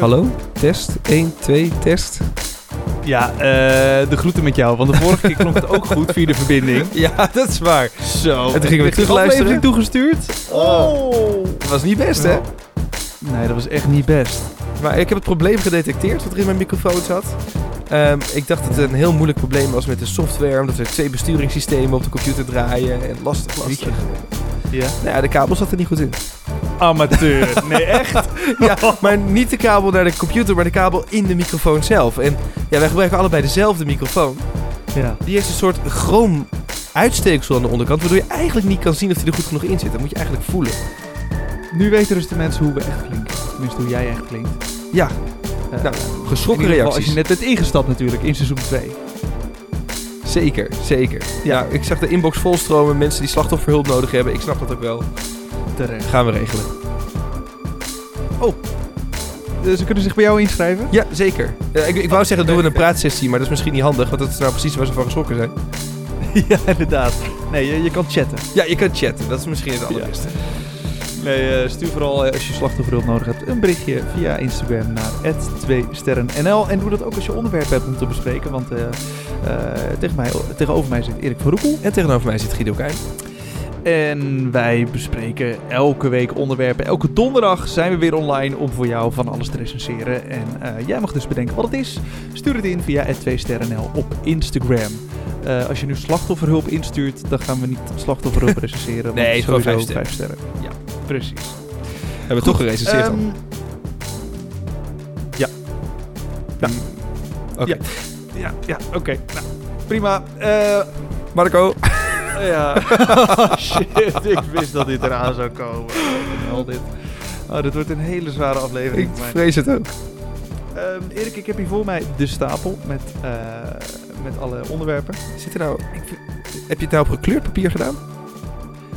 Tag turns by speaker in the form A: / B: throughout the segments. A: Hallo? Test? 1, 2, test.
B: Ja, eh, de groeten met jou. Want de vorige keer klonk het ook goed via de verbinding.
A: Ja, dat is waar.
B: Zo.
A: En toen gingen we
B: Ik heb
A: terug
B: die
A: luisteren.
B: aflevering toegestuurd. Oh.
A: Dat was niet best, hè?
B: Nee, dat was echt niet best.
A: Maar ik heb het probleem gedetecteerd wat er in mijn microfoon zat. Ehm, ik dacht dat het een heel moeilijk probleem was met de software. Omdat er twee besturingssystemen op de computer draaien. En lastig, lastig.
B: Ja.
A: Nou ja, de kabel zat er niet goed in.
B: Amateur. Nee, echt?
A: Ja, maar niet de kabel naar de computer, maar de kabel in de microfoon zelf. En ja, wij gebruiken allebei dezelfde microfoon.
B: Ja.
A: Die heeft een soort chroom uitsteeksel aan de onderkant, waardoor je eigenlijk niet kan zien of hij er goed genoeg in zit. Dat moet je eigenlijk voelen.
B: Nu weten dus de mensen hoe we echt klinken. Tenminste, hoe jij echt klinkt.
A: Ja,
B: Eh,
A: Nou,
B: in ieder
A: geschrokken
B: geval
A: reacties.
B: Als je net bent ingestapt natuurlijk, in seizoen 2.
A: Zeker, zeker. Ja, ik zag de inbox volstromen, mensen die slachtofferhulp nodig hebben. Ik snap dat ook wel.
B: Terecht.
A: Gaan we regelen.
B: Dus ze kunnen zich bij jou inschrijven?
A: Ja, zeker. Eh, ik, ik wou zeggen, doen we een praatsessie, maar dat is misschien niet handig, want dat is nou precies waar ze van geschrokken zijn.
B: ja, inderdaad. Nee, je, je kan chatten.
A: Ja, je kan chatten, dat is misschien het allerbeste.
B: Nee, eh, stuur vooral eh, als je slachtofferhulp nodig hebt een berichtje via Instagram naar 2sterrennl. En doe dat ook als je onderwerp hebt om te bespreken, want eh, eh, tegen mij, tegenover mij zit Erik van Roekel.
A: En tegenover mij zit Guido Keijn.
B: En wij bespreken elke week onderwerpen. Elke donderdag zijn we weer online om voor jou van alles te recenseren. En eh, jij mag dus bedenken wat het is. Stuur het in via 2sterrenl op Instagram. Eh, als je nu slachtofferhulp instuurt, dan gaan we niet slachtofferhulp recenseren. want
A: Nee,
B: het is
A: gewoon
B: sowieso
A: vijf
B: vijf sterren.
A: Ja.
B: precies.
A: Hebben we toch gerecenseerd dan?
B: Ehm, ja.
A: Oké.
B: Ja, ja, ja oké. Nou, prima. Eh,
A: Marco,
B: ja. Oh, Shit, ik wist dat dit eraan zou komen. Al dit. Oh, dit wordt een hele zware
A: ik
B: aflevering. voor mij.
A: vrees het ook.
B: Ehm, Erik, ik heb hier voor mij de stapel met, eh, met alle onderwerpen.
A: Zit er nou, heb je het nou op gekleurd papier gedaan?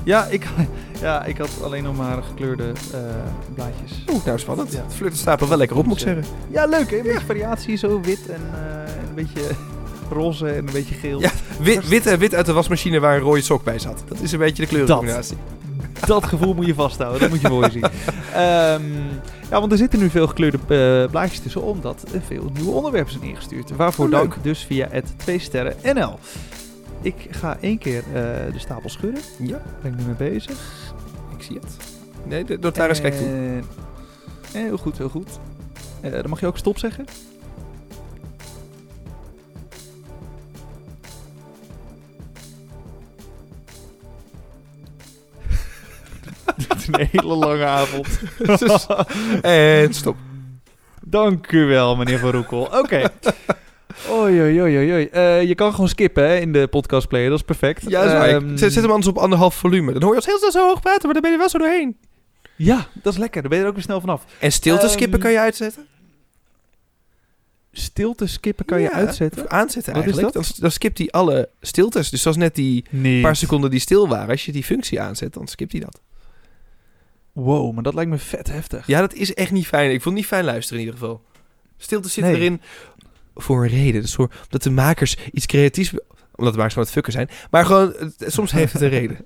B: Ja, ik, ja, ik had alleen nog maar gekleurde eh, blaadjes.
A: Oeh, nou spannend.
B: Ja.
A: Het flirten stapel wel lekker op, moet ik zeggen.
B: Ja, leuk hè? Een beetje variatie, zo wit en eh, een beetje roze en een beetje geel.
A: Ja. Wit, wit en wit uit de wasmachine waar een rode sok bij zat. Dat is een beetje de kleurencombinatie.
B: dat gevoel moet je vasthouden. Dat moet je mooi zien. Ehm, ja, want er zitten nu veel gekleurde eh, blaadjes tussen, omdat er veel nieuwe onderwerpen zijn ingestuurd. Waarvoor
A: Oh, leuk.
B: dank dus via het 2sterrennl. Ik ga één keer eh, de stapel schudden.
A: Ja,
B: Daar ben ik nu mee bezig.
A: ik zie het. Nee, de notaris kijkt toe.
B: En- eh, heel goed, heel goed. Eh, dan mag je ook stop zeggen. Dit is een hele lange avond.
A: Dus- en stop.
B: Dank u wel, meneer Van Roekel. Oké. Oei, oei, oei, oei, oei. Eh, je kan gewoon skippen hè, in de podcast player, dat is perfect.
A: Ja, dat is waar. Ik-
B: Ehm,
A: zet, zet hem anders op anderhalf volume. Dan hoor je als heel snel zo hoog praten, maar dan ben je wel zo doorheen.
B: Ja, dat is lekker. Daar ben je er ook weer snel vanaf.
A: En stilte
B: Ehm,
A: skippen kan je uitzetten?
B: Stilte skippen kan je
A: Ja,
B: uitzetten.
A: Of aanzetten
B: Wat is
A: eigenlijk. Dan, dan skipt hij alle stiltes. Dus dat is net die
B: Nee.
A: paar seconden die stil waren. Als je die functie aanzet, dan skipt hij dat.
B: Wow, maar dat lijkt me vet heftig.
A: Ja, dat is echt niet fijn. Ik vond het niet fijn luisteren in ieder geval. Stilte zit
B: Nee.
A: erin voor een reden. Dus voor, omdat de makers iets creatiefs... Omdat de makers van het fucken zijn. Maar gewoon, het- soms heeft het een reden.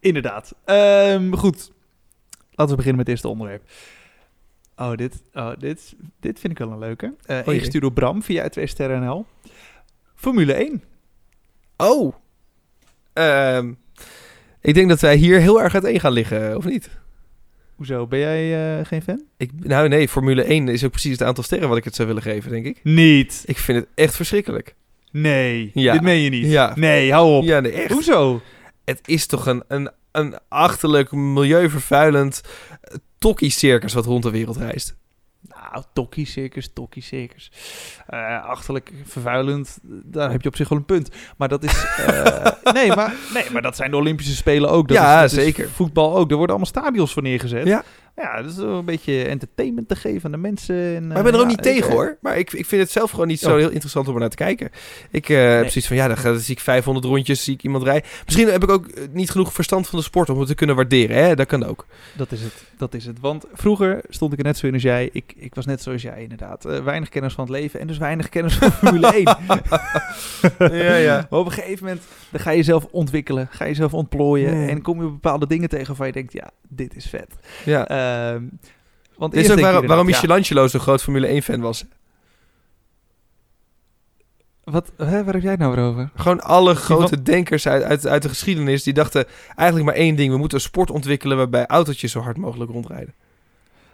B: Inderdaad. Ehm, goed. Laten we beginnen met het eerste onderwerp. Oh, dit, oh, dit, dit vind ik wel een leuke. Eh
A: jee.
B: ingestuurd door Bram via 2 Sterren NL. Formule 1.
A: Oh! Ehm, ik denk dat wij hier heel erg uiteen gaan liggen, of niet?
B: Hoezo, ben jij eh, geen fan?
A: Ik, nou nee, Formule 1 is ook precies het aantal sterren wat ik het zou willen geven, denk ik.
B: Niet.
A: Ik vind het echt verschrikkelijk.
B: Nee,
A: Ja.
B: dit meen je niet.
A: Ja.
B: Nee, hou op.
A: Ja, nee, echt.
B: Hoezo?
A: Het is toch een, een, een achterlijk, milieuvervuilend eh, tokkie-circus wat rond de wereld reist.
B: Nou, tokkie circus, tokkie circus. Eh, achterlijk, vervuilend, daar heb je op zich wel een punt. Maar dat is... eh, nee, maar, nee, maar dat zijn de Olympische Spelen ook. Dat
A: Ja,
B: is, dat is
A: zeker.
B: voetbal ook. Er worden allemaal stadions voor neergezet.
A: Ja.
B: Ja, dat is wel een beetje entertainment te geven aan de mensen. En,
A: Maar ik ben er
B: eh, ja,
A: ook niet tegen
B: eh,
A: hoor. Maar ik, ik vind het zelf gewoon niet zo
B: Oh.
A: heel interessant om er naar te kijken. Ik eh, heb zoiets van, ja, dan, ga, dan zie ik 500 rondjes, zie ik iemand rijden. Misschien heb ik ook eh, niet genoeg verstand van de sport om het te kunnen waarderen. Hè? Dat kan ook.
B: Dat is het, dat is het. Want vroeger stond ik er net zo in als jij. Ik, ik was net zoals jij inderdaad. Eh, weinig kennis van het leven en dus weinig kennis van Formule 1.
A: Ja, ja.
B: Maar op een gegeven moment dan ga je jezelf ontwikkelen, ga je jezelf ontplooien
A: Nee.
B: en kom je bepaalde dingen tegen waarvan je denkt, ja, dit is vet.
A: Ja,
B: Ehm, Want
A: Dit
B: eerst
A: is ook
B: denk
A: waar-
B: je
A: waarom
B: inderdaad,
A: Michelangelo zo'n groot Formule 1-fan was.
B: ja, Wat, hè, waar heb jij het nou weer over?
A: Gewoon alle grote denkers uit, uit, uit de geschiedenis... die dachten eigenlijk maar één ding. We moeten een sport ontwikkelen waarbij autootjes zo hard mogelijk rondrijden.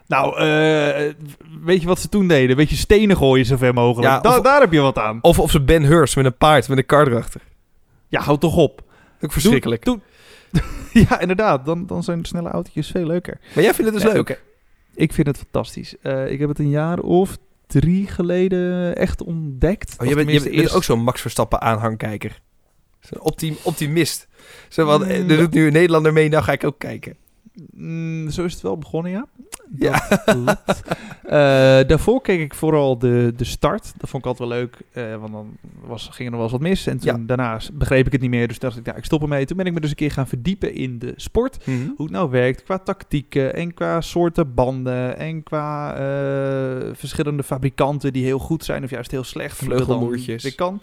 B: Nou, eh, weet je wat ze toen deden? Weet je, stenen gooien zo ver mogelijk.
A: Ja,
B: Da-
A: of-
B: daar heb je wat aan.
A: Of, of ze Ben Hurst met een paard, met een kar erachter.
B: Ja, houd toch op.
A: Ook verschrikkelijk.
B: Doe- doe- ja, inderdaad. Dan, dan zijn snelle autootjes veel leuker.
A: Maar jij vindt het dus
B: Nee,
A: leuk.
B: Ik vind het fantastisch. Eh, ik heb het een jaar of drie geleden echt ontdekt. Of
A: Oh, je bent, je
B: tenminste
A: bent je bent
B: eerst-
A: ook zo'n Max Verstappen aanhangkijker. Zo'n optim, optimist. Zo van, eh,
B: Mm.
A: er doet nu een Nederlander mee, nou ga ik ook kijken.
B: Mm, zo is het wel begonnen, ja.
A: Ja.
B: Dat klopt. Eh, daarvoor keek ik vooral de, de start. Dat vond ik altijd wel leuk, eh, want dan was, ging er nog wel eens wat mis. En toen, daarna s- begreep ik het niet meer, dus dacht ik, ja, ik stop ermee. Toen ben ik me dus een keer gaan verdiepen in de sport.
A: Mhm.
B: Hoe het nou werkt qua tactieken en qua soorten banden en qua eh, verschillende fabrikanten die heel goed zijn of juist heel slecht. Hoe dat dan
A: Vleugelmoertjes.
B: weer kan.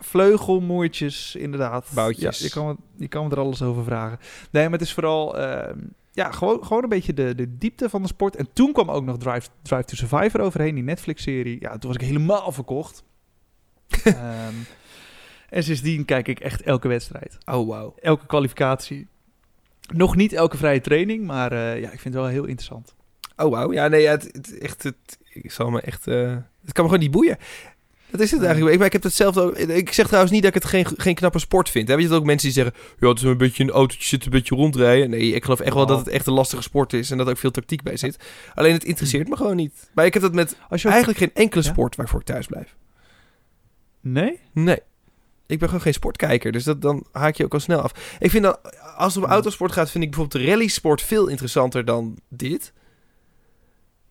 B: Vleugelmoertjes, inderdaad.
A: Boutjes.
B: Ja, je, kan me, je kan me er alles over vragen. Nee, maar het is vooral eh, ja, gewoon, gewoon een beetje de, de diepte van de sport. En toen kwam ook nog Drive, Drive to Survivor overheen, die Netflix-serie. Ja, toen was ik helemaal verkocht. Ehm, en sindsdien kijk ik echt elke wedstrijd
A: Oh, wauw.
B: elke kwalificatie. Nog niet elke vrije training, maar eh, ja, ik vind het wel heel interessant.
A: Oh, wauw. Ja, nee, ja, het, het- echt, het, ik zal me echt... eh, het kan me gewoon niet boeien. Dat is het
B: Nee.
A: eigenlijk. Ik, maar ik heb hetzelfde... ook- Ik zeg trouwens niet dat ik het geen, geen knappe sport vind. Hè? Weet je dat ook mensen die zeggen... Ja, het is een beetje een autootje, zit een beetje rondrijden. Nee, ik geloof echt wel
B: Oh.
A: dat het echt een lastige sport is. En dat er ook veel tactiek bij zit. Alleen het interesseert me gewoon niet. Maar ik heb dat met
B: Als je ook-
A: eigenlijk geen enkele
B: Ja?
A: sport waarvoor ik thuis blijf.
B: Nee?
A: Nee. Ik ben gewoon geen sportkijker, dus dat, dan haak je ook al snel af. Ik vind dat, als het om
B: Ja.
A: autosport gaat, vind ik bijvoorbeeld de rallysport veel interessanter dan dit.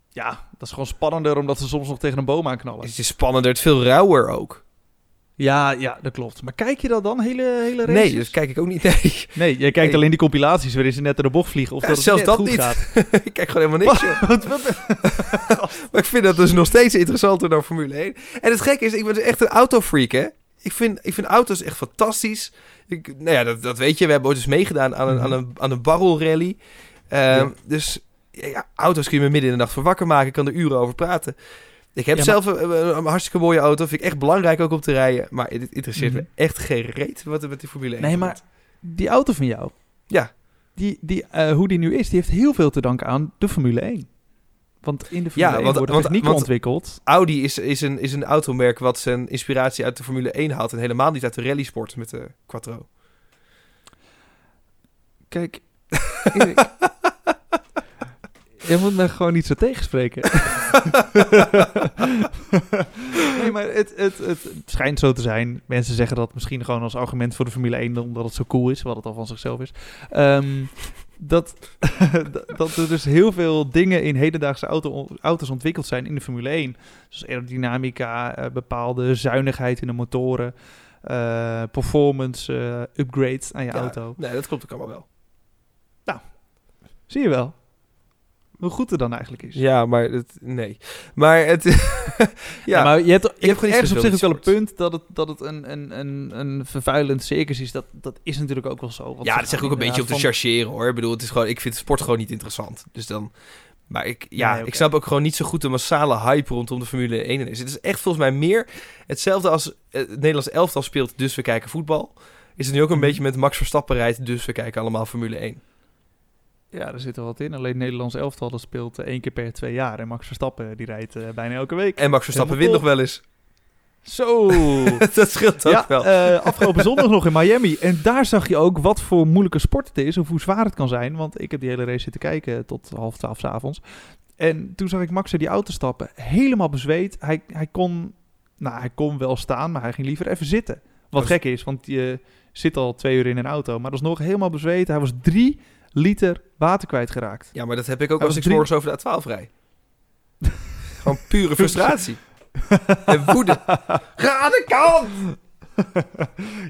B: Ja, dat is gewoon spannender omdat ze soms nog tegen een boom aanknallen.
A: Het is spannender, het is veel rauwer ook.
B: Ja, ja, dat klopt. Maar kijk je dat dan, hele, hele races?
A: Nee, dus kijk ik ook niet. Nee,
B: nee, jij kijkt
A: Nee.
B: alleen die compilaties waarin ze net door de bocht vliegen. Of
A: Ja,
B: dat het
A: zelfs
B: net
A: dat
B: goed
A: niet.
B: gaat.
A: ik kijk gewoon helemaal niks. joh.
B: Wat- wat-
A: Maar ik vind dat dus nog steeds interessanter dan Formule 1. En het gekke is, ik ben dus echt een autofreak, hè. Ik vind, ik vind auto's echt fantastisch. Ik, nou ja, dat, dat weet je. We hebben ooit eens meegedaan aan een, aan een, aan een barrel rally. Ehm,
B: Ja.
A: Dus ja, ja, auto's kun je me midden in de nacht voor wakker maken. Ik kan er uren over praten. Ik heb
B: Ja, maar-
A: zelf een, een- een hartstikke mooie auto. Vind ik echt belangrijk ook om te rijden. Maar het interesseert
B: Mhm.
A: me echt geen reet wat er met die Formule 1
B: nee, maar
A: gebeurt.
B: die auto van jou.
A: Ja.
B: Die, die, eh, hoe die nu is, die heeft heel veel te danken aan de Formule 1. Want in de Formule 1
A: want-
B: worden
A: want-
B: technieken
A: want-
B: ontwikkeld.
A: Audi is, is, een, is een automerk wat zijn inspiratie uit de Formule 1 haalt. En helemaal niet uit de rallysport met de Quattro.
B: Kijk, Erik. je moet me gewoon niet zo tegenspreken. nee, maar het, het, het schijnt zo te zijn. Mensen zeggen dat misschien gewoon als argument voor de Formule 1, omdat het zo cool is, wat het al van zichzelf is. Ehm, dat, dat er dus heel veel dingen in hedendaagse auto, auto's ontwikkeld zijn in de Formule 1. Zoals aerodynamica, eh, bepaalde zuinigheid in de motoren, eh, performance, eh, upgrades aan je
A: Ja.
B: auto.
A: Nee, dat klopt ook allemaal wel.
B: Zie je wel. Hoe goed het dan eigenlijk is.
A: Ja, maar het, nee. Maar het... ja,
B: Ja, maar je hebt, je hebt
A: gewoon iets
B: ergens op zich ook wel
A: verschil
B: een punt dat het, dat het een, een, een, een vervuilend circus is. Dat, dat is natuurlijk ook wel zo. want
A: ja,
B: ze
A: dat zeg ik
B: gaan
A: ook een beetje om te
B: inderdaad
A: chargeren hoor. Ik bedoel, het is gewoon, ik vind sport gewoon niet interessant. Dus dan. Maar ik, ja,
B: Nee, oké.
A: ik snap ook gewoon niet zo goed de massale hype rondom de Formule 1 en is. Het is echt volgens mij meer hetzelfde als eh, het Nederlands elftal speelt, dus we kijken voetbal. Is het nu ook een
B: Mhm.
A: beetje met Max Verstappen rijdt, dus we kijken allemaal Formule 1.
B: van- Ja, er zit er wat in. Alleen het Nederlands elftal dat speelt eh, één keer per twee jaar. En Max Verstappen die rijdt eh, bijna elke week.
A: En Max Verstappen wint nog wel eens.
B: Zo!
A: dat scheelt ook
B: ja,
A: wel.
B: eh, afgelopen zondag nog in Miami. En daar zag je ook wat voor moeilijke sport het is. Of hoe zwaar het kan zijn. Want ik heb die hele race zitten kijken tot half twaalf 's avonds. En toen zag ik Max uit die auto stappen. Helemaal bezweet. Hij, hij, kon, nou, hij kon wel staan, maar hij ging liever even zitten. Wat
A: Dat is-
B: gek is, want je zit al twee uur in een auto. Maar dat is nog helemaal bezweet. Hij was drie liter water kwijtgeraakt.
A: Ja, maar dat heb ik ook
B: Hij was
A: als ik
B: drie-
A: morgens over de A12 rij. gewoon pure frustratie. en woede. Ga aan de kant!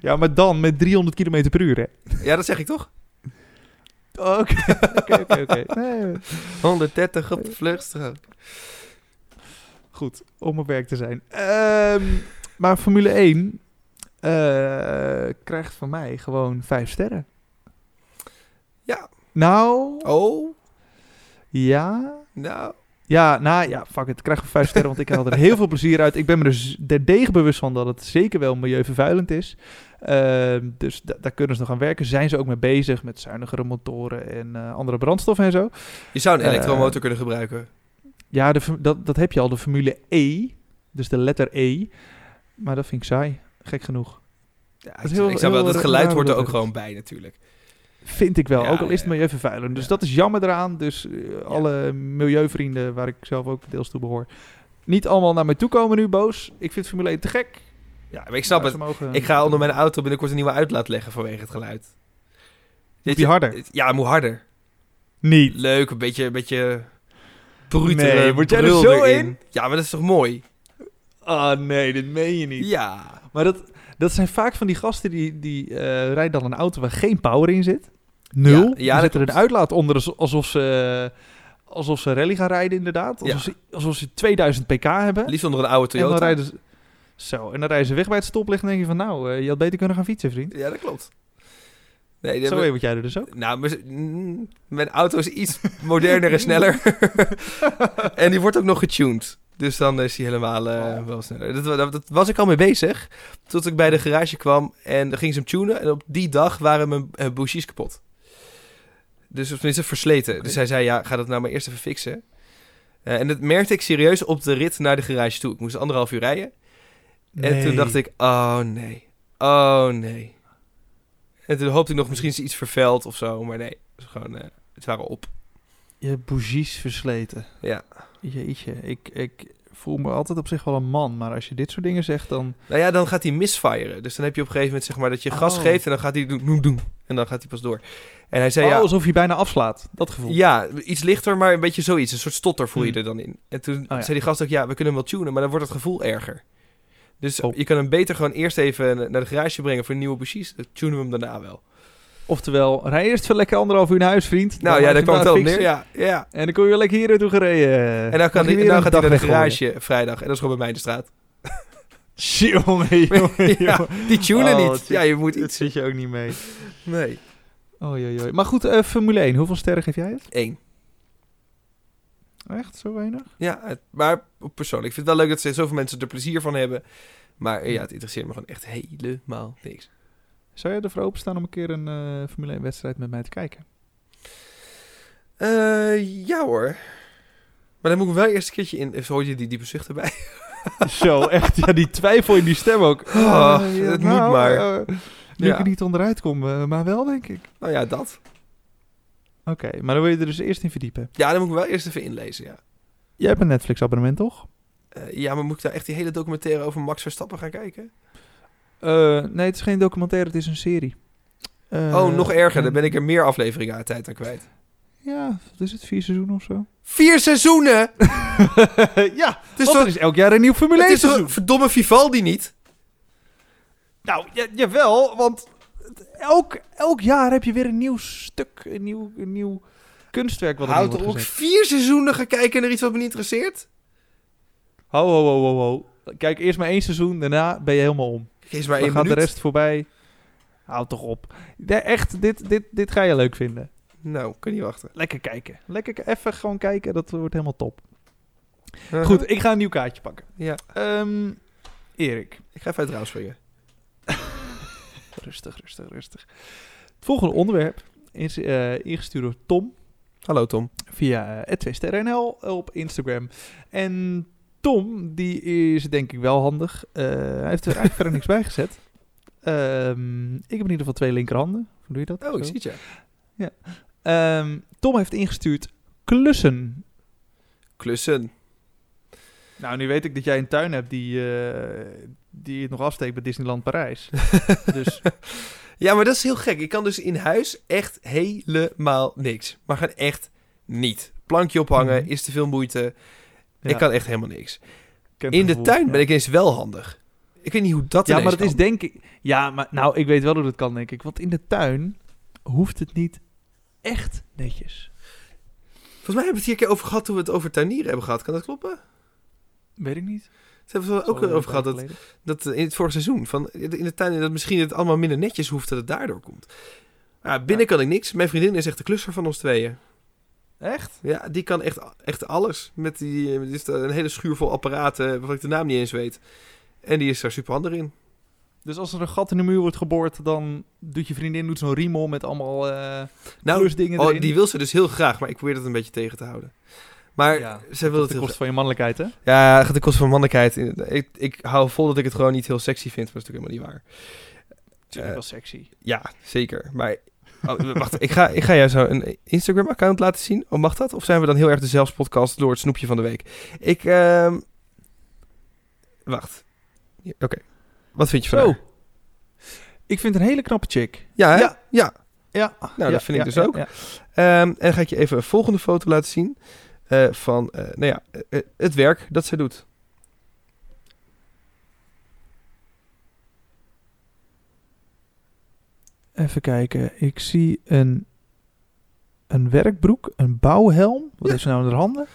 B: ja, maar dan met 300 km per uur, hè?
A: Ja, dat zeg ik toch?
B: Oké, oké, oké, oké. Nee,
A: 130 op de vluchtstrook.
B: Goed, om op werk te zijn. Ehm, maar Formule 1 eh, krijgt van mij gewoon vijf sterren.
A: Ja.
B: Nou,
A: Oh,
B: ja,
A: Nou,
B: Ja, nou ja, fuck it. Ik krijg een vijf sterren, want ik haal er heel veel plezier uit. Ik ben me er z- er degen bewust van dat het zeker wel milieuvervuilend is. Ehm, dus da- daar kunnen ze nog aan werken. Zijn ze ook mee bezig met zuinigere motoren en eh, andere brandstoffen en zo.
A: je zou een
B: Eh,
A: elektromotor kunnen gebruiken.
B: Ja, de, form- dat, dat heb je al, de Formule E. Dus de letter E. Maar dat vind ik saai, gek genoeg.
A: Ja,
B: dat is heel-
A: ik snap wel,
B: heel
A: dat
B: raar
A: geluid hoort er ook
B: bedoeld.
A: gewoon bij natuurlijk.
B: Vind ik wel,
A: Ja,
B: ook al
A: ja,
B: is het
A: ja.
B: milieuvervuilend. Dus
A: Ja.
B: dat is jammer eraan. Dus eh, alle milieuvrienden, waar ik zelf ook deels toe behoor, niet allemaal naar mij toe komen nu boos. Ik vind Formule 1 te gek.
A: Ja, maar ik snap
B: Maar
A: het.
B: ze mogen-
A: Ik ga onder mijn auto binnenkort een nieuwe uitlaat leggen vanwege het geluid. Dit-
B: die harder?
A: Ja, moet harder.
B: Niet.
A: Leuk, een beetje, een beetje brutere
B: Nee, word jij er
A: brul
B: zo
A: erin.
B: in?
A: Ja, maar dat is toch mooi?
B: Ah nee, dit meen je niet.
A: Ja.
B: Maar dat, dat zijn vaak van die gasten die, die eh, rijden dan een auto waar geen power in zit. Nul.
A: Ja, ja,
B: die
A: dat
B: zetten er een
A: klopt.
B: uitlaat onder als- alsof ze, alsof ze rally gaan rijden inderdaad.
A: Ja.
B: Alsof, ze, alsof ze 2000 pk hebben.
A: Liefst onder een oude
B: En dan
A: Toyota.
B: rijden ze... Zo, en dan rijden ze weg bij het stoplicht en denk je van... Nou, eh, je had beter kunnen gaan fietsen, vriend.
A: Ja, dat klopt. Nee, dat
B: Zo even word jij er dus ook.
A: Nou, mis- mm, mijn auto is iets moderner en sneller. en die wordt ook nog getuned. Dus dan is die helemaal eh,
B: Oh.
A: wel sneller. Dat, wa- dat, dat was ik al mee bezig. Tot ik bij de garage kwam en dan ging ze hem tunen. En op die dag waren mijn eh, bougies kapot. Dus of tenminste versleten. Dus hij zei, ja, ga dat nou maar eerst even fixen. Eh, en dat merkte ik serieus op de rit naar de garage toe. Ik moest anderhalf uur rijden. En toen dacht ik, oh nee, oh nee. En toen hoopte ik nog misschien is iets vervuild of zo, maar nee. Het, is gewoon, eh, het waren op.
B: Je bougies versleten.
A: Ja.
B: Jeetje, ik, ik voel me altijd op zich wel een man. Maar als je dit soort dingen zegt, dan...
A: Nou ja, dan gaat hij misfiren. Dus dan heb je op een gegeven moment zeg maar dat je gas
B: Oh.
A: geeft en dan gaat hij doen, doen, doen. En dan gaat hij pas door. En hij zei,
B: Oh,
A: ja,
B: alsof je bijna afslaat. Dat gevoel.
A: ja, iets lichter, maar een beetje zoiets. Een soort stotter voel je
B: Hmm.
A: er dan in. En toen
B: ja.
A: zei die gast ook, ja, we kunnen hem wel tunen, maar dan wordt het gevoel erger. Dus
B: Oh.
A: je kan hem beter gewoon eerst even naar de garage brengen voor nieuwe bougies. Dan tunen we hem daarna wel.
B: Oftewel, rij eerst wel lekker anderhalf uur naar huis, vriend.
A: Nou
B: Dan
A: ja,
B: laat
A: daar
B: je
A: kwam het
B: hem
A: wel op
B: daar
A: neer.
B: fixen.
A: Ja, ja.
B: En dan kom je wel lekker hier naartoe gereden.
A: En dan kan
B: Mag je
A: hij,
B: weer
A: dan
B: een
A: gaat hij
B: dag
A: naar de
B: weggooien.
A: garage eh, vrijdag. En dat is gewoon bij mij in de straat.
B: Jongen, jongen,
A: Ja,
B: jongen.
A: die tunen
B: Oh,
A: niet.
B: het-
A: Ja, je moet
B: Dit
A: iets.
B: zit je ook niet mee.
A: Nee.
B: Oh, Maar goed, eh, Formule 1. Hoeveel sterren geef jij het?
A: Eén.
B: Echt? Zo weinig?
A: Ja, het- maar persoonlijk. Ik vind het wel leuk dat ze zoveel mensen er plezier van hebben. Maar eh, ja, het interesseert me gewoon echt helemaal niks.
B: Zou jij ervoor openstaan om een keer een eh, Formule 1 wedstrijd met mij te kijken?
A: Eh, ja hoor. Maar dan moet ik wel eerst een keertje in... eh, Hoor je die diepe zucht erbij?
B: Zo, echt. Ja, die twijfel in die stem ook.
A: Ah,
B: Eh, ja,
A: het moet maar.
B: eh, nu ik
A: Ja.
B: er niet onderuit kom, eh, maar wel, denk ik.
A: Nou ja, dat.
B: Oké, maar dan wil je er dus eerst in verdiepen.
A: Ja, dan moet ik wel eerst even inlezen, ja.
B: Jij hebt een Netflix-abonnement, toch?
A: Eh, ja, maar moet ik daar echt die hele documentaire over Max Verstappen gaan kijken?
B: Eh, nee, het is geen documentaire, het is een serie. Eh,
A: oh, nog erger.
B: en-
A: Dan ben ik er meer afleveringen aan tijd aan kwijt.
B: Ja, wat is het? Vier seizoenen of zo?
A: Vier seizoenen! Dus
B: ja,
A: Het is
B: want
A: toch,
B: er is elk jaar een nieuw Formule
A: het
B: 1
A: is toch
B: seizoen.
A: een verdomme Vivaldi niet?
B: Nou, ja, jawel, want het- elk, elk jaar heb je weer een nieuw stuk, een nieuw, een nieuw kunstwerk wat er
A: Houdt
B: wordt
A: er ook
B: gezet.
A: vier seizoenen gaan kijken naar iets wat me niet interesseert?
B: Ho, ho, ho, ho, ho. Kijk, eerst maar één seizoen, daarna ben je helemaal om.
A: Geef maar
B: Dan
A: één
B: gaat
A: minuut.
B: de rest voorbij. Hou toch op. Ja, echt, dit, dit, dit ga je leuk vinden.
A: Nou, kan niet wachten.
B: Lekker kijken. Lekker k- even gewoon kijken, dat wordt helemaal top. Goed, ik ga een nieuw kaartje pakken.
A: Ja,
B: Ehm, Erik,
A: ik ga even uit het raam springen.
B: rustig, rustig, rustig. Het volgende onderwerp is eh, ingestuurd door Tom
A: Hallo Tom.
B: via eh, @tweesterrenl op Instagram. En Tom, die is denk ik wel handig. Eh, hij heeft er eigenlijk verder niks bij gezet. Ehm, ik heb in ieder geval twee linkerhanden. Hoe doe je dat?
A: Oh, ik
B: Zo.
A: zie het ja.
B: Ehm, Tom heeft ingestuurd klussen.
A: Klussen.
B: Nou, nu weet ik dat jij een tuin hebt die, eh, die het nog afsteekt bij Disneyland Parijs. dus
A: Ja, maar dat is heel gek. Ik kan dus in huis echt helemaal niks. Maar gaan echt niet. Plankje ophangen
B: Mhm.
A: is te veel moeite.
B: ja,
A: Ik kan echt helemaal niks.
B: kent
A: In
B: het
A: de
B: gevoel,
A: tuin
B: ja.
A: ben ik eens wel handig. Ik weet niet hoe dat
B: Ja,
A: ineens
B: maar dat
A: kan.
B: is denk ik. Ja, maar nou, ik weet wel hoe dat kan, denk ik. Want in de tuin hoeft het niet echt netjes.
A: Volgens mij hebben we het hier een keer over gehad toen we het over tuinieren hebben gehad. Kan dat kloppen?
B: Weet ik niet.
A: Ze hebben we het
B: Oh,
A: ook over gehad. Dat, dat eh, in het vorige seizoen. Van in de tuin dat misschien het allemaal minder netjes hoeft dat het daardoor komt. Maar ja, binnen kan ik niks. Mijn vriendin is echt de klusser van ons tweeën.
B: Echt?
A: Ja, die kan echt, echt alles. Met die, eh, er is een hele schuur vol apparaten waarvan ik de naam niet eens weet. En die is daar super handig in.
B: Dus als er een gat in de muur wordt geboord, dan doet je vriendin doet zo'n riemel met allemaal eh
A: Nou,
B: klusdingen
A: oh,
B: erin.
A: die wil ze dus heel graag, maar ik probeer dat een beetje tegen te houden. Maar
B: Ja,
A: zij
B: Dat
A: wil het dus-
B: de
A: heel
B: kost van je mannelijkheid, hè?
A: Ja, gaat de kost van mannelijkheid. in- Ik, ik hou vol dat ik het gewoon niet heel sexy vind, maar dat is natuurlijk helemaal niet waar.
B: Natuurlijk
A: Eh,
B: wel sexy.
A: Ja, zeker. Maar oh, wacht, ik ga, ik ga jou zo een Instagram-account laten zien. Oh, mag dat? Of zijn we dan heel erg de zelfspodcast door het snoepje van de week? Ik, ehm, wacht. Ja, Oké. Wat vind je van
B: Zo.
A: haar?
B: Ik vind een hele knappe chick.
A: Ja, hè?
B: Ja.
A: ja.
B: Ja.
A: Nou, dat vind ik dus ook. Ehm, en dan ga ik je even een volgende foto laten zien eh, van, eh, nou ja, eh, eh, het werk dat zij doet.
B: Even kijken. Ik zie een, een werkbroek, een bouwhelm. Wat
A: Ja.
B: heeft ze nou in haar handen?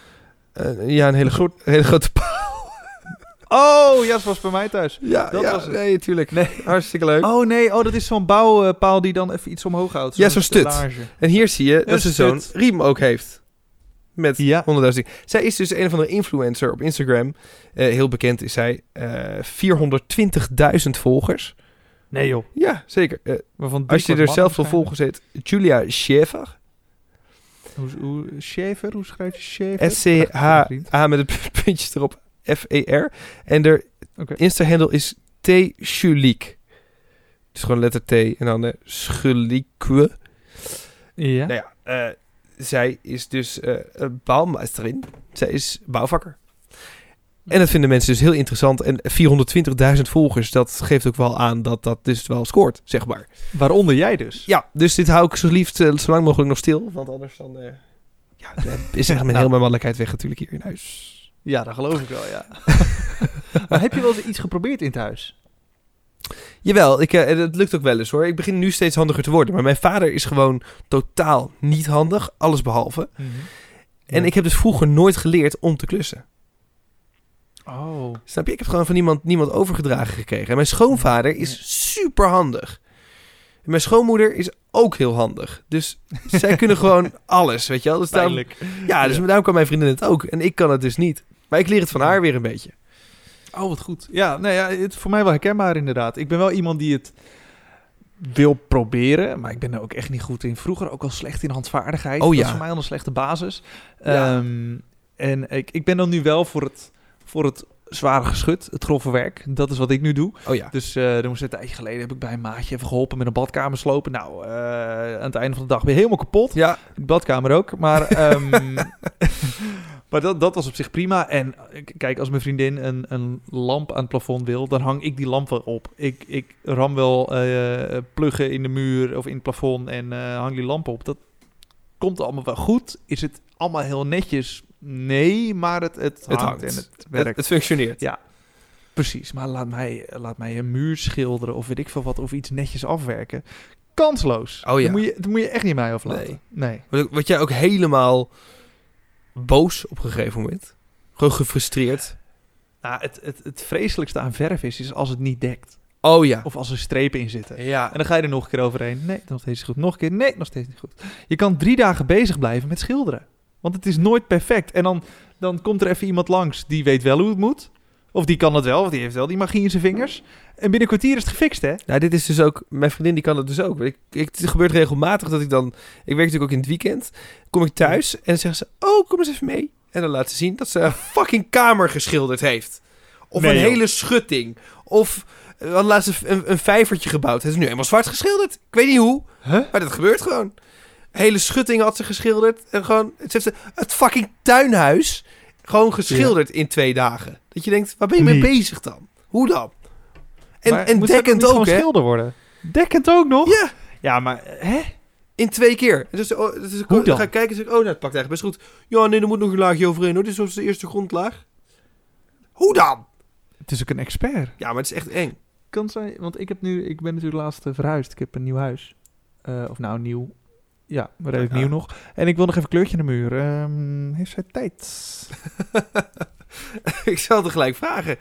A: Eh, ja, een hele, gro- een hele grote pa-
B: Oh, ja, dat was bij mij thuis.
A: Ja,
B: Dat
A: ja,
B: was het.
A: Nee, tuurlijk. Hartstikke leuk.
B: Oh nee, oh, dat is zo'n bouwpaal die dan even iets omhoog houdt.
A: Ja, zo'n stut.
B: stellage.
A: En hier zie je dat
B: Een
A: ze zo'n
B: stut.
A: riem ook heeft. Met
B: Ja.
A: 100.000 dingen. Zij is dus een van de influencer op Instagram. Eh, heel bekend is zij. Eh, 420.000 volgers.
B: Nee joh.
A: Ja, zeker. Eh,
B: Waarvan
A: als je er
B: driekwart
A: zelf wil
B: mannen
A: volgen, zit Julia Schaefer.
B: waarschijnlijk. Hoe, hoe, Schaefer, hoe schrijf je Schaefer? vriend.
A: S-C-H-A met het puntje erop. F-E-R. En haar
B: Oké.
A: Insta-handle is T. Schuliek. Het is gewoon letter T en dan de Schuliekwe.
B: Ja.
A: Nou ja, eh, zij is dus eh een bouwmeesterin. Zij is bouwvakker. En dat vinden mensen dus heel interessant. En 420.000 volgers, dat geeft ook wel aan dat dat dus wel scoort, zeg maar.
B: Waaronder jij dus.
A: Ja, dus dit hou ik zo liefst eh, zo lang mogelijk nog stil. Want anders dan eh, ja, dan is echt mijn
B: Nou.
A: hele mannelijkheid weg natuurlijk hier in huis.
B: Ja, dat geloof ik wel, ja. maar heb je wel eens iets geprobeerd in het huis?
A: Jawel, ik, eh, het lukt ook wel eens hoor. Ik begin nu steeds handiger te worden. Maar mijn vader is gewoon totaal niet handig, alles behalve.
B: Mhm.
A: En
B: Ja.
A: ik heb dus vroeger nooit geleerd om te klussen.
B: Oh.
A: Snap je? Ik heb het gewoon van niemand, niemand overgedragen gekregen. En mijn schoonvader
B: Ja.
A: is super handig. En mijn schoonmoeder is ook heel handig. Dus zij kunnen gewoon alles, weet je wel. Dus daarom,
B: Pijnlijk.
A: ja, dus
B: Ja.
A: daarom kan mijn vriendin het ook. En ik kan het dus niet. Maar ik leer het van haar weer een beetje.
B: Oh, wat goed. Ja, nou ja, het is voor mij wel herkenbaar inderdaad. Ik ben wel iemand die het wil proberen, maar ik ben er ook echt niet goed in. Vroeger ook al slecht in handvaardigheid.
A: Oh
B: Dat
A: ja.
B: is voor mij al een slechte basis.
A: Ja.
B: Ehm, en ik, ik ben dan nu wel voor het, voor het zware geschut, het grove werk. Dat is wat ik nu doe.
A: Oh ja.
B: Dus eh dan moest een tijdje geleden heb ik bij een maatje even geholpen met een badkamer slopen. Nou, eh, aan het einde van de dag ben je helemaal kapot.
A: Ja,
B: De badkamer ook. Maar, ehm, maar dat, dat was op zich prima. En eh, k- kijk, als mijn vriendin een, een lamp aan het plafond wil, dan hang ik die lamp wel op. Ik, ik ram wel eh, pluggen in de muur of in het plafond en eh, hang die lamp op. Dat komt allemaal wel goed. Is het allemaal heel netjes? Nee, maar het, het,
A: Het
B: hangt,
A: hangt.
B: en het werkt.
A: het, het functioneert.
B: Precies, maar laat mij, laat mij een muur schilderen of weet ik veel wat, of iets netjes afwerken. Kansloos.
A: Oh ja.
B: Dat moet je, dat moet je echt niet mij aflaten.
A: Nee.
B: nee.
A: Word- Word jij ook helemaal boos op een gegeven moment? Gewoon gefrustreerd?
B: Nou, het, het, het vreselijkste aan verf is, is als het niet dekt.
A: Oh ja.
B: Of als er strepen in zitten.
A: Ja.
B: En dan ga je er nog een keer overheen. Nee, nog steeds niet goed. Nog een keer. Nee, nog steeds niet goed. Je kan drie dagen bezig blijven met schilderen. Want het is nooit perfect. En dan, dan komt er even iemand langs die weet wel hoe het moet. Of die kan het wel, of die heeft wel die magie in zijn vingers. En binnen een kwartier is het gefixt, hè?
A: Nou, dit is dus ook, mijn vriendin die kan dat dus ook. Ik, ik, het gebeurt regelmatig dat ik dan, ik werk natuurlijk ook in het weekend, kom ik thuis en dan zeggen ze, oh, kom eens even mee. En dan laat ze zien dat ze een fucking kamer geschilderd heeft. Of
B: Nee,
A: een
B: joh.
A: hele schutting. Of eh, dan laat ze een, een vijvertje gebouwd. Het is nu helemaal zwart geschilderd. Ik weet niet hoe,
B: Huh?
A: maar dat gebeurt gewoon. Hele schutting had ze geschilderd. En gewoon, het, heeft ze, het fucking tuinhuis gewoon geschilderd in twee dagen. Dat je denkt, waar ben je mee
B: Niet.
A: bezig dan? Hoe dan? En,
B: Maar
A: en
B: moet dat
A: dekkend
B: niet
A: ook,
B: gewoon
A: hè?
B: schilder worden. Dekkend ook nog?
A: Ja.
B: Ja, maar hè?
A: In twee keer. En Dus, oh, dus ik
B: Hoe dan?
A: ga ik kijken en zeg ik, oh, nou, het pakt eigenlijk best goed. Ja, nee, er moet nog een laagje overheen hoor. Dit is zoals de eerste grondlaag. Hoe dan?
B: Het is ook een expert.
A: Ja, maar het is echt eng.
B: Kan zijn, want ik heb nu, ik ben natuurlijk laatst eh, verhuisd. Ik heb een nieuw huis. Eh, of nou, nieuw. Ja, redelijk
A: Ja.
B: nieuw nog. En ik wil nog even kleurtje in de muur. Ehm, heeft zij tijd?
A: ik zal het gelijk vragen.
B: Oh,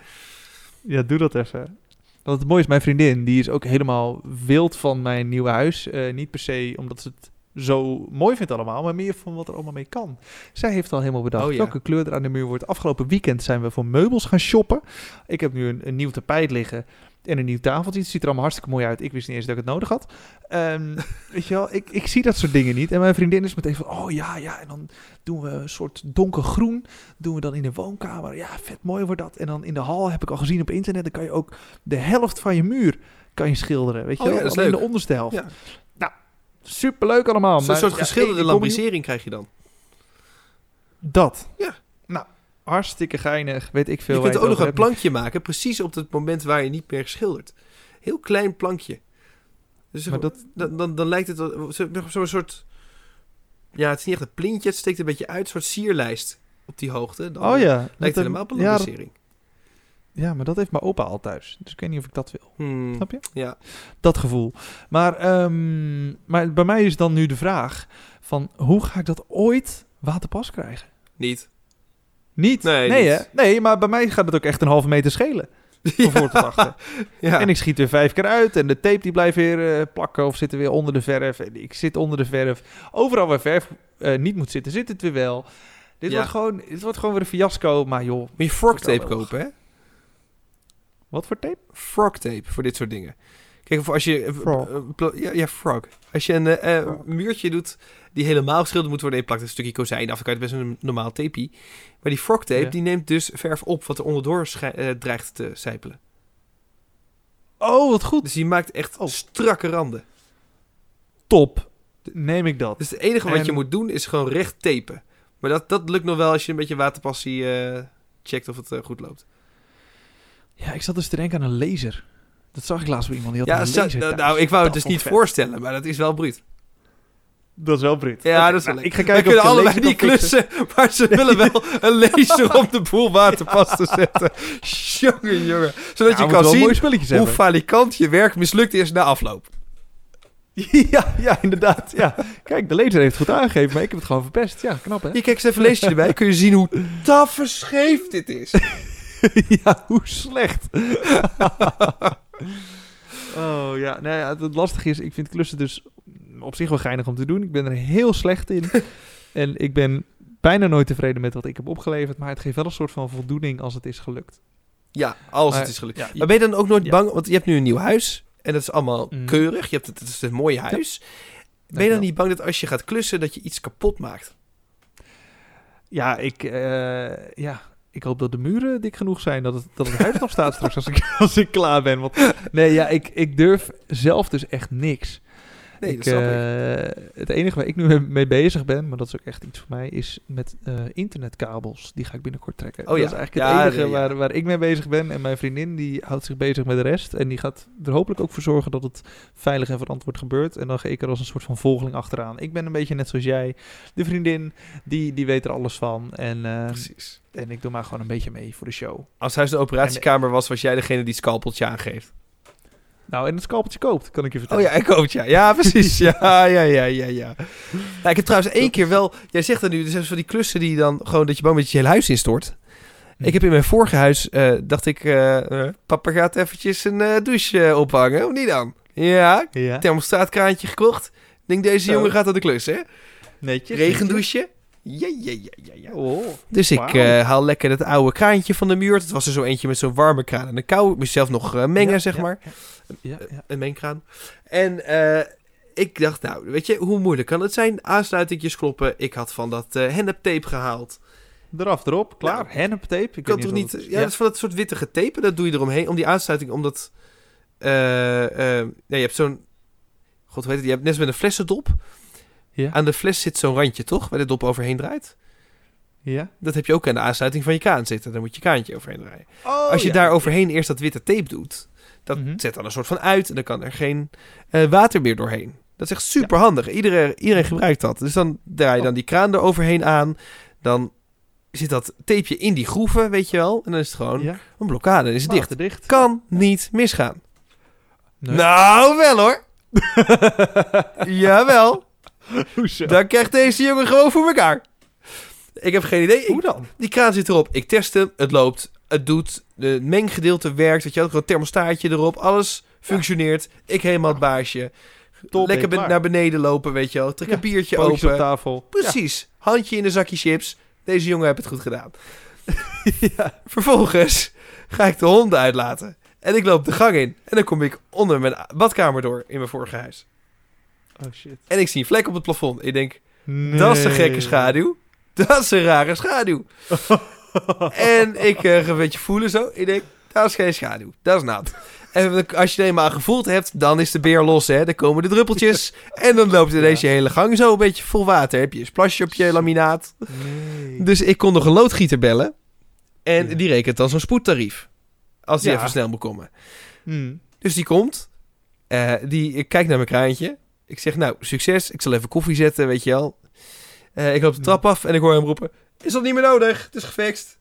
B: Ja, doe dat even. Want het mooie is, mijn vriendin, die is ook helemaal wild van mijn nieuwe huis. Eh, niet per se omdat ze het zo mooi vindt allemaal, maar meer van wat er allemaal mee kan. Zij heeft al helemaal bedacht
A: Oh, ja.
B: welke kleur er aan de muur wordt. Afgelopen weekend zijn we voor meubels gaan shoppen. Ik heb nu een, een nieuw tapijt liggen en een nieuw tafeltje. Het ziet er allemaal hartstikke mooi uit. Ik wist niet eens dat ik het nodig had. Ehm, weet je wel, ik, ik zie dat soort dingen niet. En mijn vriendin is meteen van, oh ja, ja. En dan doen we een soort donkergroen. Doen we dan in de woonkamer. Ja, vet mooi wordt dat. En dan in de hal, heb ik al gezien op internet, dan kan je ook de helft van je muur kan je schilderen. Weet je
A: Oh ja,
B: wel,
A: dat is
B: alleen
A: leuk.
B: de onderste helft.
A: Ja.
B: Nou, superleuk allemaal.
A: Zo'n
B: maar
A: soort
B: ja,
A: geschilderde
B: ik- ik kom niet-
A: lambrisering krijg je dan.
B: Dat.
A: Ja.
B: Nou, hartstikke geinig. Weet ik veel.
A: je
B: waar
A: kunt
B: het
A: ook
B: over
A: nog een
B: hebt.
A: plankje maken, precies op het moment waar je niet meer schildert. Heel klein plankje. Dus zeg
B: Maar
A: maar,
B: dat,
A: dan, dan, dan lijkt het wel- zo- nog zo'n soort... Ja, het is niet echt een plintje, het steekt een beetje uit. Een soort sierlijst op die hoogte. Dan
B: oh ja. dat
A: Lijkt
B: heb-
A: het helemaal op een
B: ja, dat-
A: lambrisering.
B: ja, maar dat heeft mijn opa al thuis. Dus ik weet niet of ik dat wil.
A: Hmm.
B: Snap je?
A: Ja.
B: Dat gevoel. Maar, ehm, maar bij mij is dan nu de vraag van hoe ga ik dat ooit waterpas krijgen?
A: Niet.
B: Niet.
A: Nee,
B: nee,
A: niet.
B: Hè? nee, maar bij mij gaat het ook echt een halve meter schelen. Van voor tot achter.
A: Ja.
B: En ik schiet weer vijf keer uit. En de tape die blijft weer eh, plakken of zit er weer onder de verf. En ik zit onder de verf. Overal waar verf eh, niet moet zitten, zit het weer wel. Dit,
A: Ja.
B: wordt gewoon, dit wordt gewoon weer een fiasco. Maar joh,
A: Moet je forktape
B: Vertel wel.
A: kopen, hè?
B: wat voor tape?
A: Frogtape voor dit soort dingen. Kijk, of als je... eh,
B: Frog.
A: eh, pla- ja, ja, frog. Als je een eh, eh,
B: Frog.
A: muurtje doet die helemaal geschilderd moet worden... en je plakt een stukje kozijn af, dan kan je het best een normaal tapeie. Maar die frogtape,
B: Ja.
A: die neemt dus verf op... wat er onderdoor schij- eh, dreigt te sijpelen.
B: Oh, wat goed.
A: Dus die maakt echt
B: Oh.
A: strakke randen.
B: Top. Neem ik dat.
A: Dus het enige wat
B: En-
A: je moet doen is gewoon recht tapen. Maar dat, dat lukt nog wel als je een beetje waterpassie eh, checkt of het eh, goed loopt.
B: Ja, ik zat dus te denken aan een laser. Dat zag ik laatst bij iemand. Die had
A: Ja,
B: een
A: zo-
B: laser
A: nou,
B: thuis.
A: nou, ik wou
B: Dat
A: het dus
B: vond
A: niet
B: ik vet.
A: voorstellen, maar dat is wel bruut.
B: Dat is wel Brit.
A: Ja, dat is wel
B: nou,
A: leuk.
B: Ik ga
A: Wij
B: kijken
A: kunnen
B: of ik de laser
A: allebei niet
B: kan fixen.
A: klussen, maar ze willen wel een laser op de boel waterpas te zetten. Jongen, jongen. Zodat
B: Ja, we
A: je
B: moeten wel
A: kan
B: mooie
A: zien
B: spulletjes
A: hoe
B: hebben.
A: falikant je werk mislukt is na afloop.
B: Ja, ja, inderdaad. Ja. Kijk, de laser heeft het goed aangegeven, maar ik heb het gewoon verpest. Ja, knap hè?
A: Hier, kijk eens even een lasertje erbij. Kun je zien hoe taffe scheef dit is.
B: ja, hoe slecht. oh ja, nou ja, het- het lastige is, ik vind klussen dus op zich wel geinig om te doen. Ik ben er heel slecht in. en ik ben bijna nooit tevreden met wat ik heb opgeleverd, maar het geeft wel een soort van voldoening als het is gelukt.
A: Ja, als
B: Maar-
A: het is gelukt.
B: Ja,
A: Maar ben je dan ook nooit
B: Ja.
A: bang, want je hebt nu een nieuw huis en dat is allemaal
B: Mm.
A: keurig. Je hebt het, het is een mooi huis. Ben je
B: dankjewel.
A: dan niet bang dat als je gaat klussen dat je iets kapot maakt?
B: Ja, ik, eh, ja, ik hoop dat de muren dik genoeg zijn. Dat het, dat het huis nog staat straks als ik, als ik klaar ben. Want, nee, ja, ik, ik durf zelf dus echt niks.
A: Nee,
B: ik,
A: dat snap ik.
B: eh, Het enige waar ik nu mee bezig ben, maar dat is ook echt iets voor mij, is met eh, internetkabels. Die ga ik binnenkort trekken.
A: Oh
B: dat
A: ja.
B: is eigenlijk
A: Ja,
B: het enige
A: nee, ja.
B: waar, waar ik mee bezig ben. En mijn vriendin die houdt zich bezig met de rest. En die gaat er hopelijk ook voor zorgen dat het veilig en verantwoord gebeurt. En dan ga ik er als een soort van volgeling achteraan. Ik ben een beetje net zoals jij. De vriendin, die, die weet er alles van. En, eh,
A: Precies.
B: en ik doe maar gewoon een beetje mee voor de show.
A: Als huis een operatiekamer was, was jij degene die het scalpeltje aangeeft.
B: Nou, en het scalpeltje koopt, kan ik je
A: Oh
B: vertellen.
A: ja, ik hoop het, ja. Ja, precies. Ja, ja, ja, ja, ja. Nou, ik heb trouwens één keer wel... Jij zegt dat nu, dus van die klussen die dan gewoon... dat je bang bent dat je hele huis instort.
B: Hm.
A: Ik heb in mijn vorige huis, eh, dacht ik... eh, eh, papa gaat eventjes een eh, douche eh, ophangen, of niet dan? Ja,
B: ja.
A: thermostaatkraantje gekocht. Ik denk, deze
B: Zo.
A: jongen gaat aan de klus, hè?
B: Netjes.
A: Regendouche. Ja, ja, ja, ja, ja.
B: Oh.
A: Dus ik
B: Wauw.
A: eh, haal lekker dat oude kraantje van de muur. Dat was er zo eentje met zo'n warme kraan en een kou. Ik moest zelf nog eh, mengen,
B: Ja,
A: zeg
B: ja,
A: maar
B: Ja, ja.
A: een mengkraan. En eh, ik dacht, nou, weet je, hoe moeilijk kan het zijn? Aansluitingjes kloppen. Ik had van dat eh hennep tape gehaald.
B: Eraf, erop, klaar.
A: Nou,
B: Hennep tape. Ik
A: Ik kan
B: weet
A: toch
B: niet
A: niet...
B: wat het is.
A: Ja, dus- dat is van dat soort witte tape. Dat doe je eromheen om die aansluiting, omdat... eh, eh, nee, je hebt zo'n... God weet het, je hebt net als met een flessendop.
B: Ja.
A: Aan de fles zit zo'n randje, toch? Waar de dop overheen draait.
B: Ja.
A: Dat heb je ook aan de aansluiting van je kaan zitten. Daar moet je kaantje overheen draaien.
B: Oh,
A: Als je
B: ja.
A: daar overheen eerst dat witte tape doet, dat
B: Mhm.
A: zet dan een soort van uit en dan kan er geen eh, water meer doorheen. Dat is echt super handig. Iedereen, iedereen gebruikt dat. Dus dan draai
B: Oh.
A: je dan die kraan er overheen aan. Dan zit dat tapeje in die groeven, weet je wel. En dan is het gewoon
B: Ja.
A: een blokkade. Dan is het dicht.
B: Water Oh, dicht.
A: Kan niet misgaan.
B: Nee.
A: Nou, wel hoor. Jawel.
B: Hoezo?
A: Dan krijgt deze jongen gewoon voor elkaar. Ik heb geen idee. Ik-
B: Hoe dan?
A: die kraan zit erop. Ik test hem. Het loopt. Het doet. De menggedeelte werkt. Weet je wel, gewoon een thermostaatje erop. Alles functioneert. Ik helemaal het baasje.
B: Top,
A: Lekker
B: Dus ben
A: ben-
B: je klaar.
A: naar beneden lopen, weet je wel. Trek
B: Ja,
A: een biertje
B: Pootjes op
A: open.
B: tafel.
A: Precies. Handje in een zakje chips. Deze jongen heeft het goed gedaan. Vervolgens ga ik de honden uitlaten. En ik loop de gang in. En dan kom ik onder mijn a- badkamer door in mijn vorige huis.
B: Ja. Oh shit.
A: En ik zie een vlek op het plafond. Ik denk, dat is een gekke schaduw. Dat is een rare schaduw. en ik eh, ga een beetje voelen zo. Ik denk, dat is geen schaduw. Dat is nat. En als je er eenmaal aan gevoeld hebt, dan is de beer los. Hè? Dan komen de druppeltjes. En dan loopt ineens je hele gang zo een beetje vol water. Heb je een plasje op je laminaat.
B: Nee.
A: Dus ik kon nog een loodgieter bellen. En
B: Ja.
A: die rekent dan zo'n spoedtarief. Als die
B: Ja.
A: even snel moet komen.
B: Hmm.
A: Dus die komt. eh, die ik kijk naar mijn kraantje. Ik zeg, nou, succes. Ik zal even koffie zetten, weet je wel. Eh, ik loop de
B: Ja.
A: trap af en ik hoor hem roepen. Is dat niet meer nodig? Het is gefixt.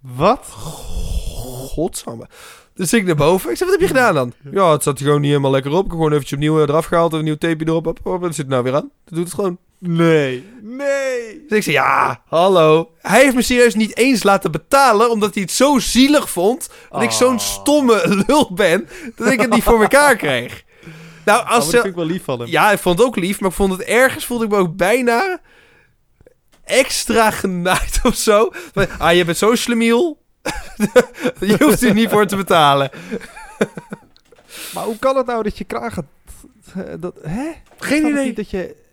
B: Wat?
A: Godsamme. Dus ik naar boven. Ik zeg, wat heb je gedaan dan? Ja, het zat gewoon niet helemaal lekker op. Ik heb gewoon eventjes opnieuw eh, eraf gehaald. Een nieuw tapeje erop. Hop, hop, dat zit er nou weer aan. Dat doet het gewoon.
B: Nee. Nee.
A: Dus ik zei, ja, hallo. Hij heeft me serieus niet eens laten betalen, omdat hij het zo zielig vond. Dat ik zo'n
B: Oh.
A: stomme lul ben, dat ik het niet voor elkaar kreeg. Nou,
B: Oh, maar
A: als
B: dat vind
A: ze...
B: ik wel lief van hem.
A: Ja, ik vond het ook lief, maar ik vond het ergens, voelde ik me ook bijna extra genaaid of zo. Van, Ah, je bent zo'n slemiel. je hoeft er niet voor te betalen.
B: Maar hoe kan het nou dat je kraag gaat... eh, Dat, hè?
A: Geen
B: Kan het
A: idee.
B: niet dat je...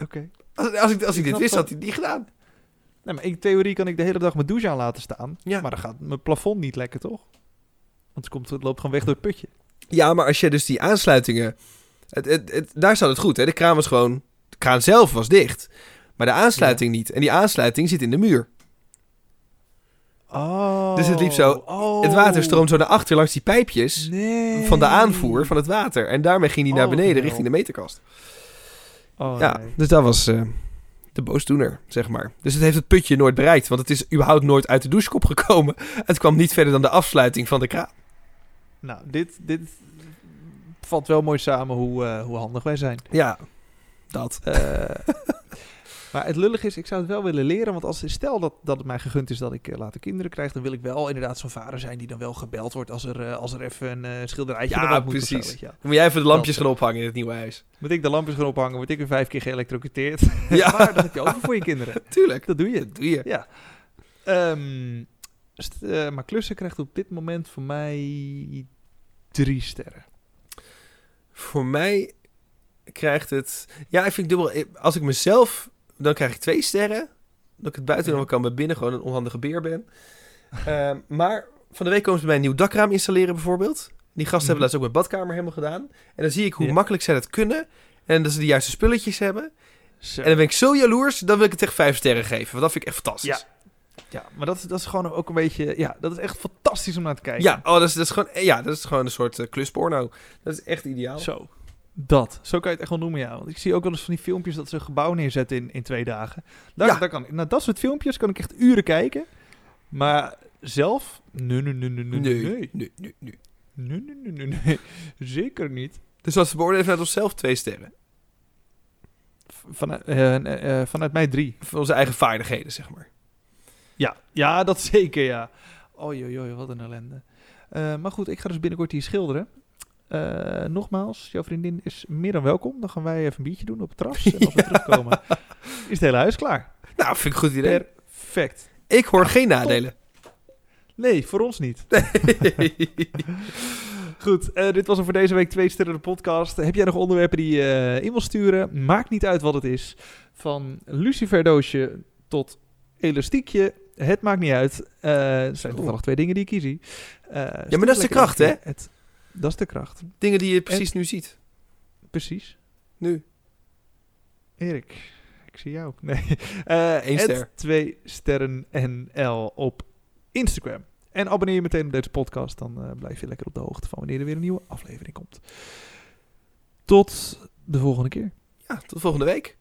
B: Oké.
A: Als, als ik, als ik dit
B: snap
A: wist,
B: dat.
A: had hij het niet gedaan.
B: Nee, maar in theorie kan ik de hele dag mijn douche aan laten staan.
A: Ja.
B: Maar dan gaat mijn plafond niet lekker, toch? Want het, komt, het loopt gewoon weg door het putje.
A: Ja, maar als je dus die aansluitingen... Het, het, het- daar staat het goed, hè? De kraan was gewoon... De kraan zelf was dicht. Maar de aansluiting niet. En die aansluiting zit in de muur.
B: Oh.
A: Dus het liep zo-
B: Oh.
A: Het water stroomt zo naar achter langs die pijpjes...
B: Nee.
A: van de aanvoer van het water. En daarmee ging die naar
B: Oh, wat
A: beneden
B: een
A: richting de meterkast.
B: Oh,
A: ja,
B: nee.
A: dus dat was eh, de boosdoener, zeg maar. Dus het heeft het putje nooit bereikt. Want het is überhaupt nooit uit de douchekop gekomen. Het kwam niet verder dan de afsluiting van de kraan.
B: Nou, dit, dit valt wel mooi samen hoe, eh, hoe handig wij zijn.
A: Ja, dat.
B: Eh, maar het lullig is, ik zou het wel willen leren. Want als, stel dat, dat het mij gegund is dat ik eh, later kinderen krijg... dan wil ik wel inderdaad zo'n vader zijn die dan wel gebeld wordt... als er, eh, als er even een eh, schilderijtje
A: Ja,
B: erop moet of zo,
A: precies.
B: weet je wel.
A: Dan moet jij even de lampjes
B: Dat, eh.
A: gaan ophangen in het nieuwe huis.
B: Moet ik de lampjes gaan ophangen? Word ik er vijf keer geëlektrocuteerd?
A: Ja.
B: maar dat heb je over voor je kinderen.
A: Tuurlijk,
B: Dat doe je.
A: dat doe je.
B: Ja. Ehm, st- eh, maar klussen krijgt op dit moment voor mij drie sterren.
A: Voor mij krijgt het. Ja, ik vind dubbel. Als ik mezelf. dan krijg ik twee sterren. Dat ik het buiten
B: Ja.
A: nog wel kan, maar binnen gewoon een onhandige beer ben. Ehm, maar van de week komen ze bij mij een nieuw dakraam installeren, bijvoorbeeld. Die gasten hebben
B: Mhm.
A: laatst ook mijn badkamer helemaal gedaan. En dan zie ik hoe
B: Ja.
A: makkelijk zij dat kunnen. En dat ze de juiste spulletjes hebben.
B: Zo.
A: En dan ben ik zo jaloers, dan wil ik het echt vijf sterren geven. Want dat vind ik echt fantastisch.
B: Ja, maar dat, is- dat is gewoon ook een beetje... Ja, dat is echt fantastisch om naar te
A: Ja,
B: kijken.
A: oh, dat, is, dat, is gewoon, ja dat is gewoon een soort eh, klusporno. Dat is echt ideaal.
B: Zo. Dat. Zo kan je het echt wel noemen, ja. Want ik zie ook wel eens van die filmpjes dat ze een gebouw neerzetten in, in twee dagen. Daar,
A: Ja.
B: daar kan, nou, dat soort filmpjes kan ik echt uren kijken. Maar zelf... Nee, nee, nee, nee, nee, nee.
A: nee, nee, nee.
B: Nee, nee, nee, nee, nee. Zeker niet.
A: Dus dat beoordelen vanuit onszelf twee sterren.
B: V- Vanuit, eh, eh, eh, vanuit mij drie.
A: Voor onze eigen vaardigheden, zeg maar.
B: Ja, ja, dat zeker, ja. Oei, oei, oei, wat een ellende. Eh, maar goed, ik ga dus binnenkort hier schilderen. Eh, nogmaals, jouw vriendin is meer dan welkom. Dan gaan wij even een biertje doen op het terras. En als we terugkomen, is het hele huis klaar.
A: Nou, vind ik een goed idee.
B: Perfect.
A: Ik hoor geen nadelen.
B: Nee, voor ons niet. Goed, eh, dit was hem voor deze week Twee Sterren de podcast. Heb jij nog onderwerpen die je eh, in wil sturen? Maakt niet uit wat het is. Van luciferdoosje tot elastiekje. Het maakt niet uit. Eh, het zijn
A: Zo.
B: toevallig twee dingen die ik hier zie. Eh,
A: is de
B: lekker
A: kracht,
B: aan
A: hè?
B: Het, dat is de kracht,
A: Dingen die je precies nu ziet.
B: precies.
A: Nu.
B: Erik, ik zie jou. Nee. Eh
A: Eén
B: at
A: ster.
B: Twee sterren NL op Instagram. En abonneer je meteen op deze podcast. Dan eh, blijf je lekker op de hoogte van wanneer er weer een nieuwe aflevering komt. Tot de volgende keer.
A: Ja, tot volgende week.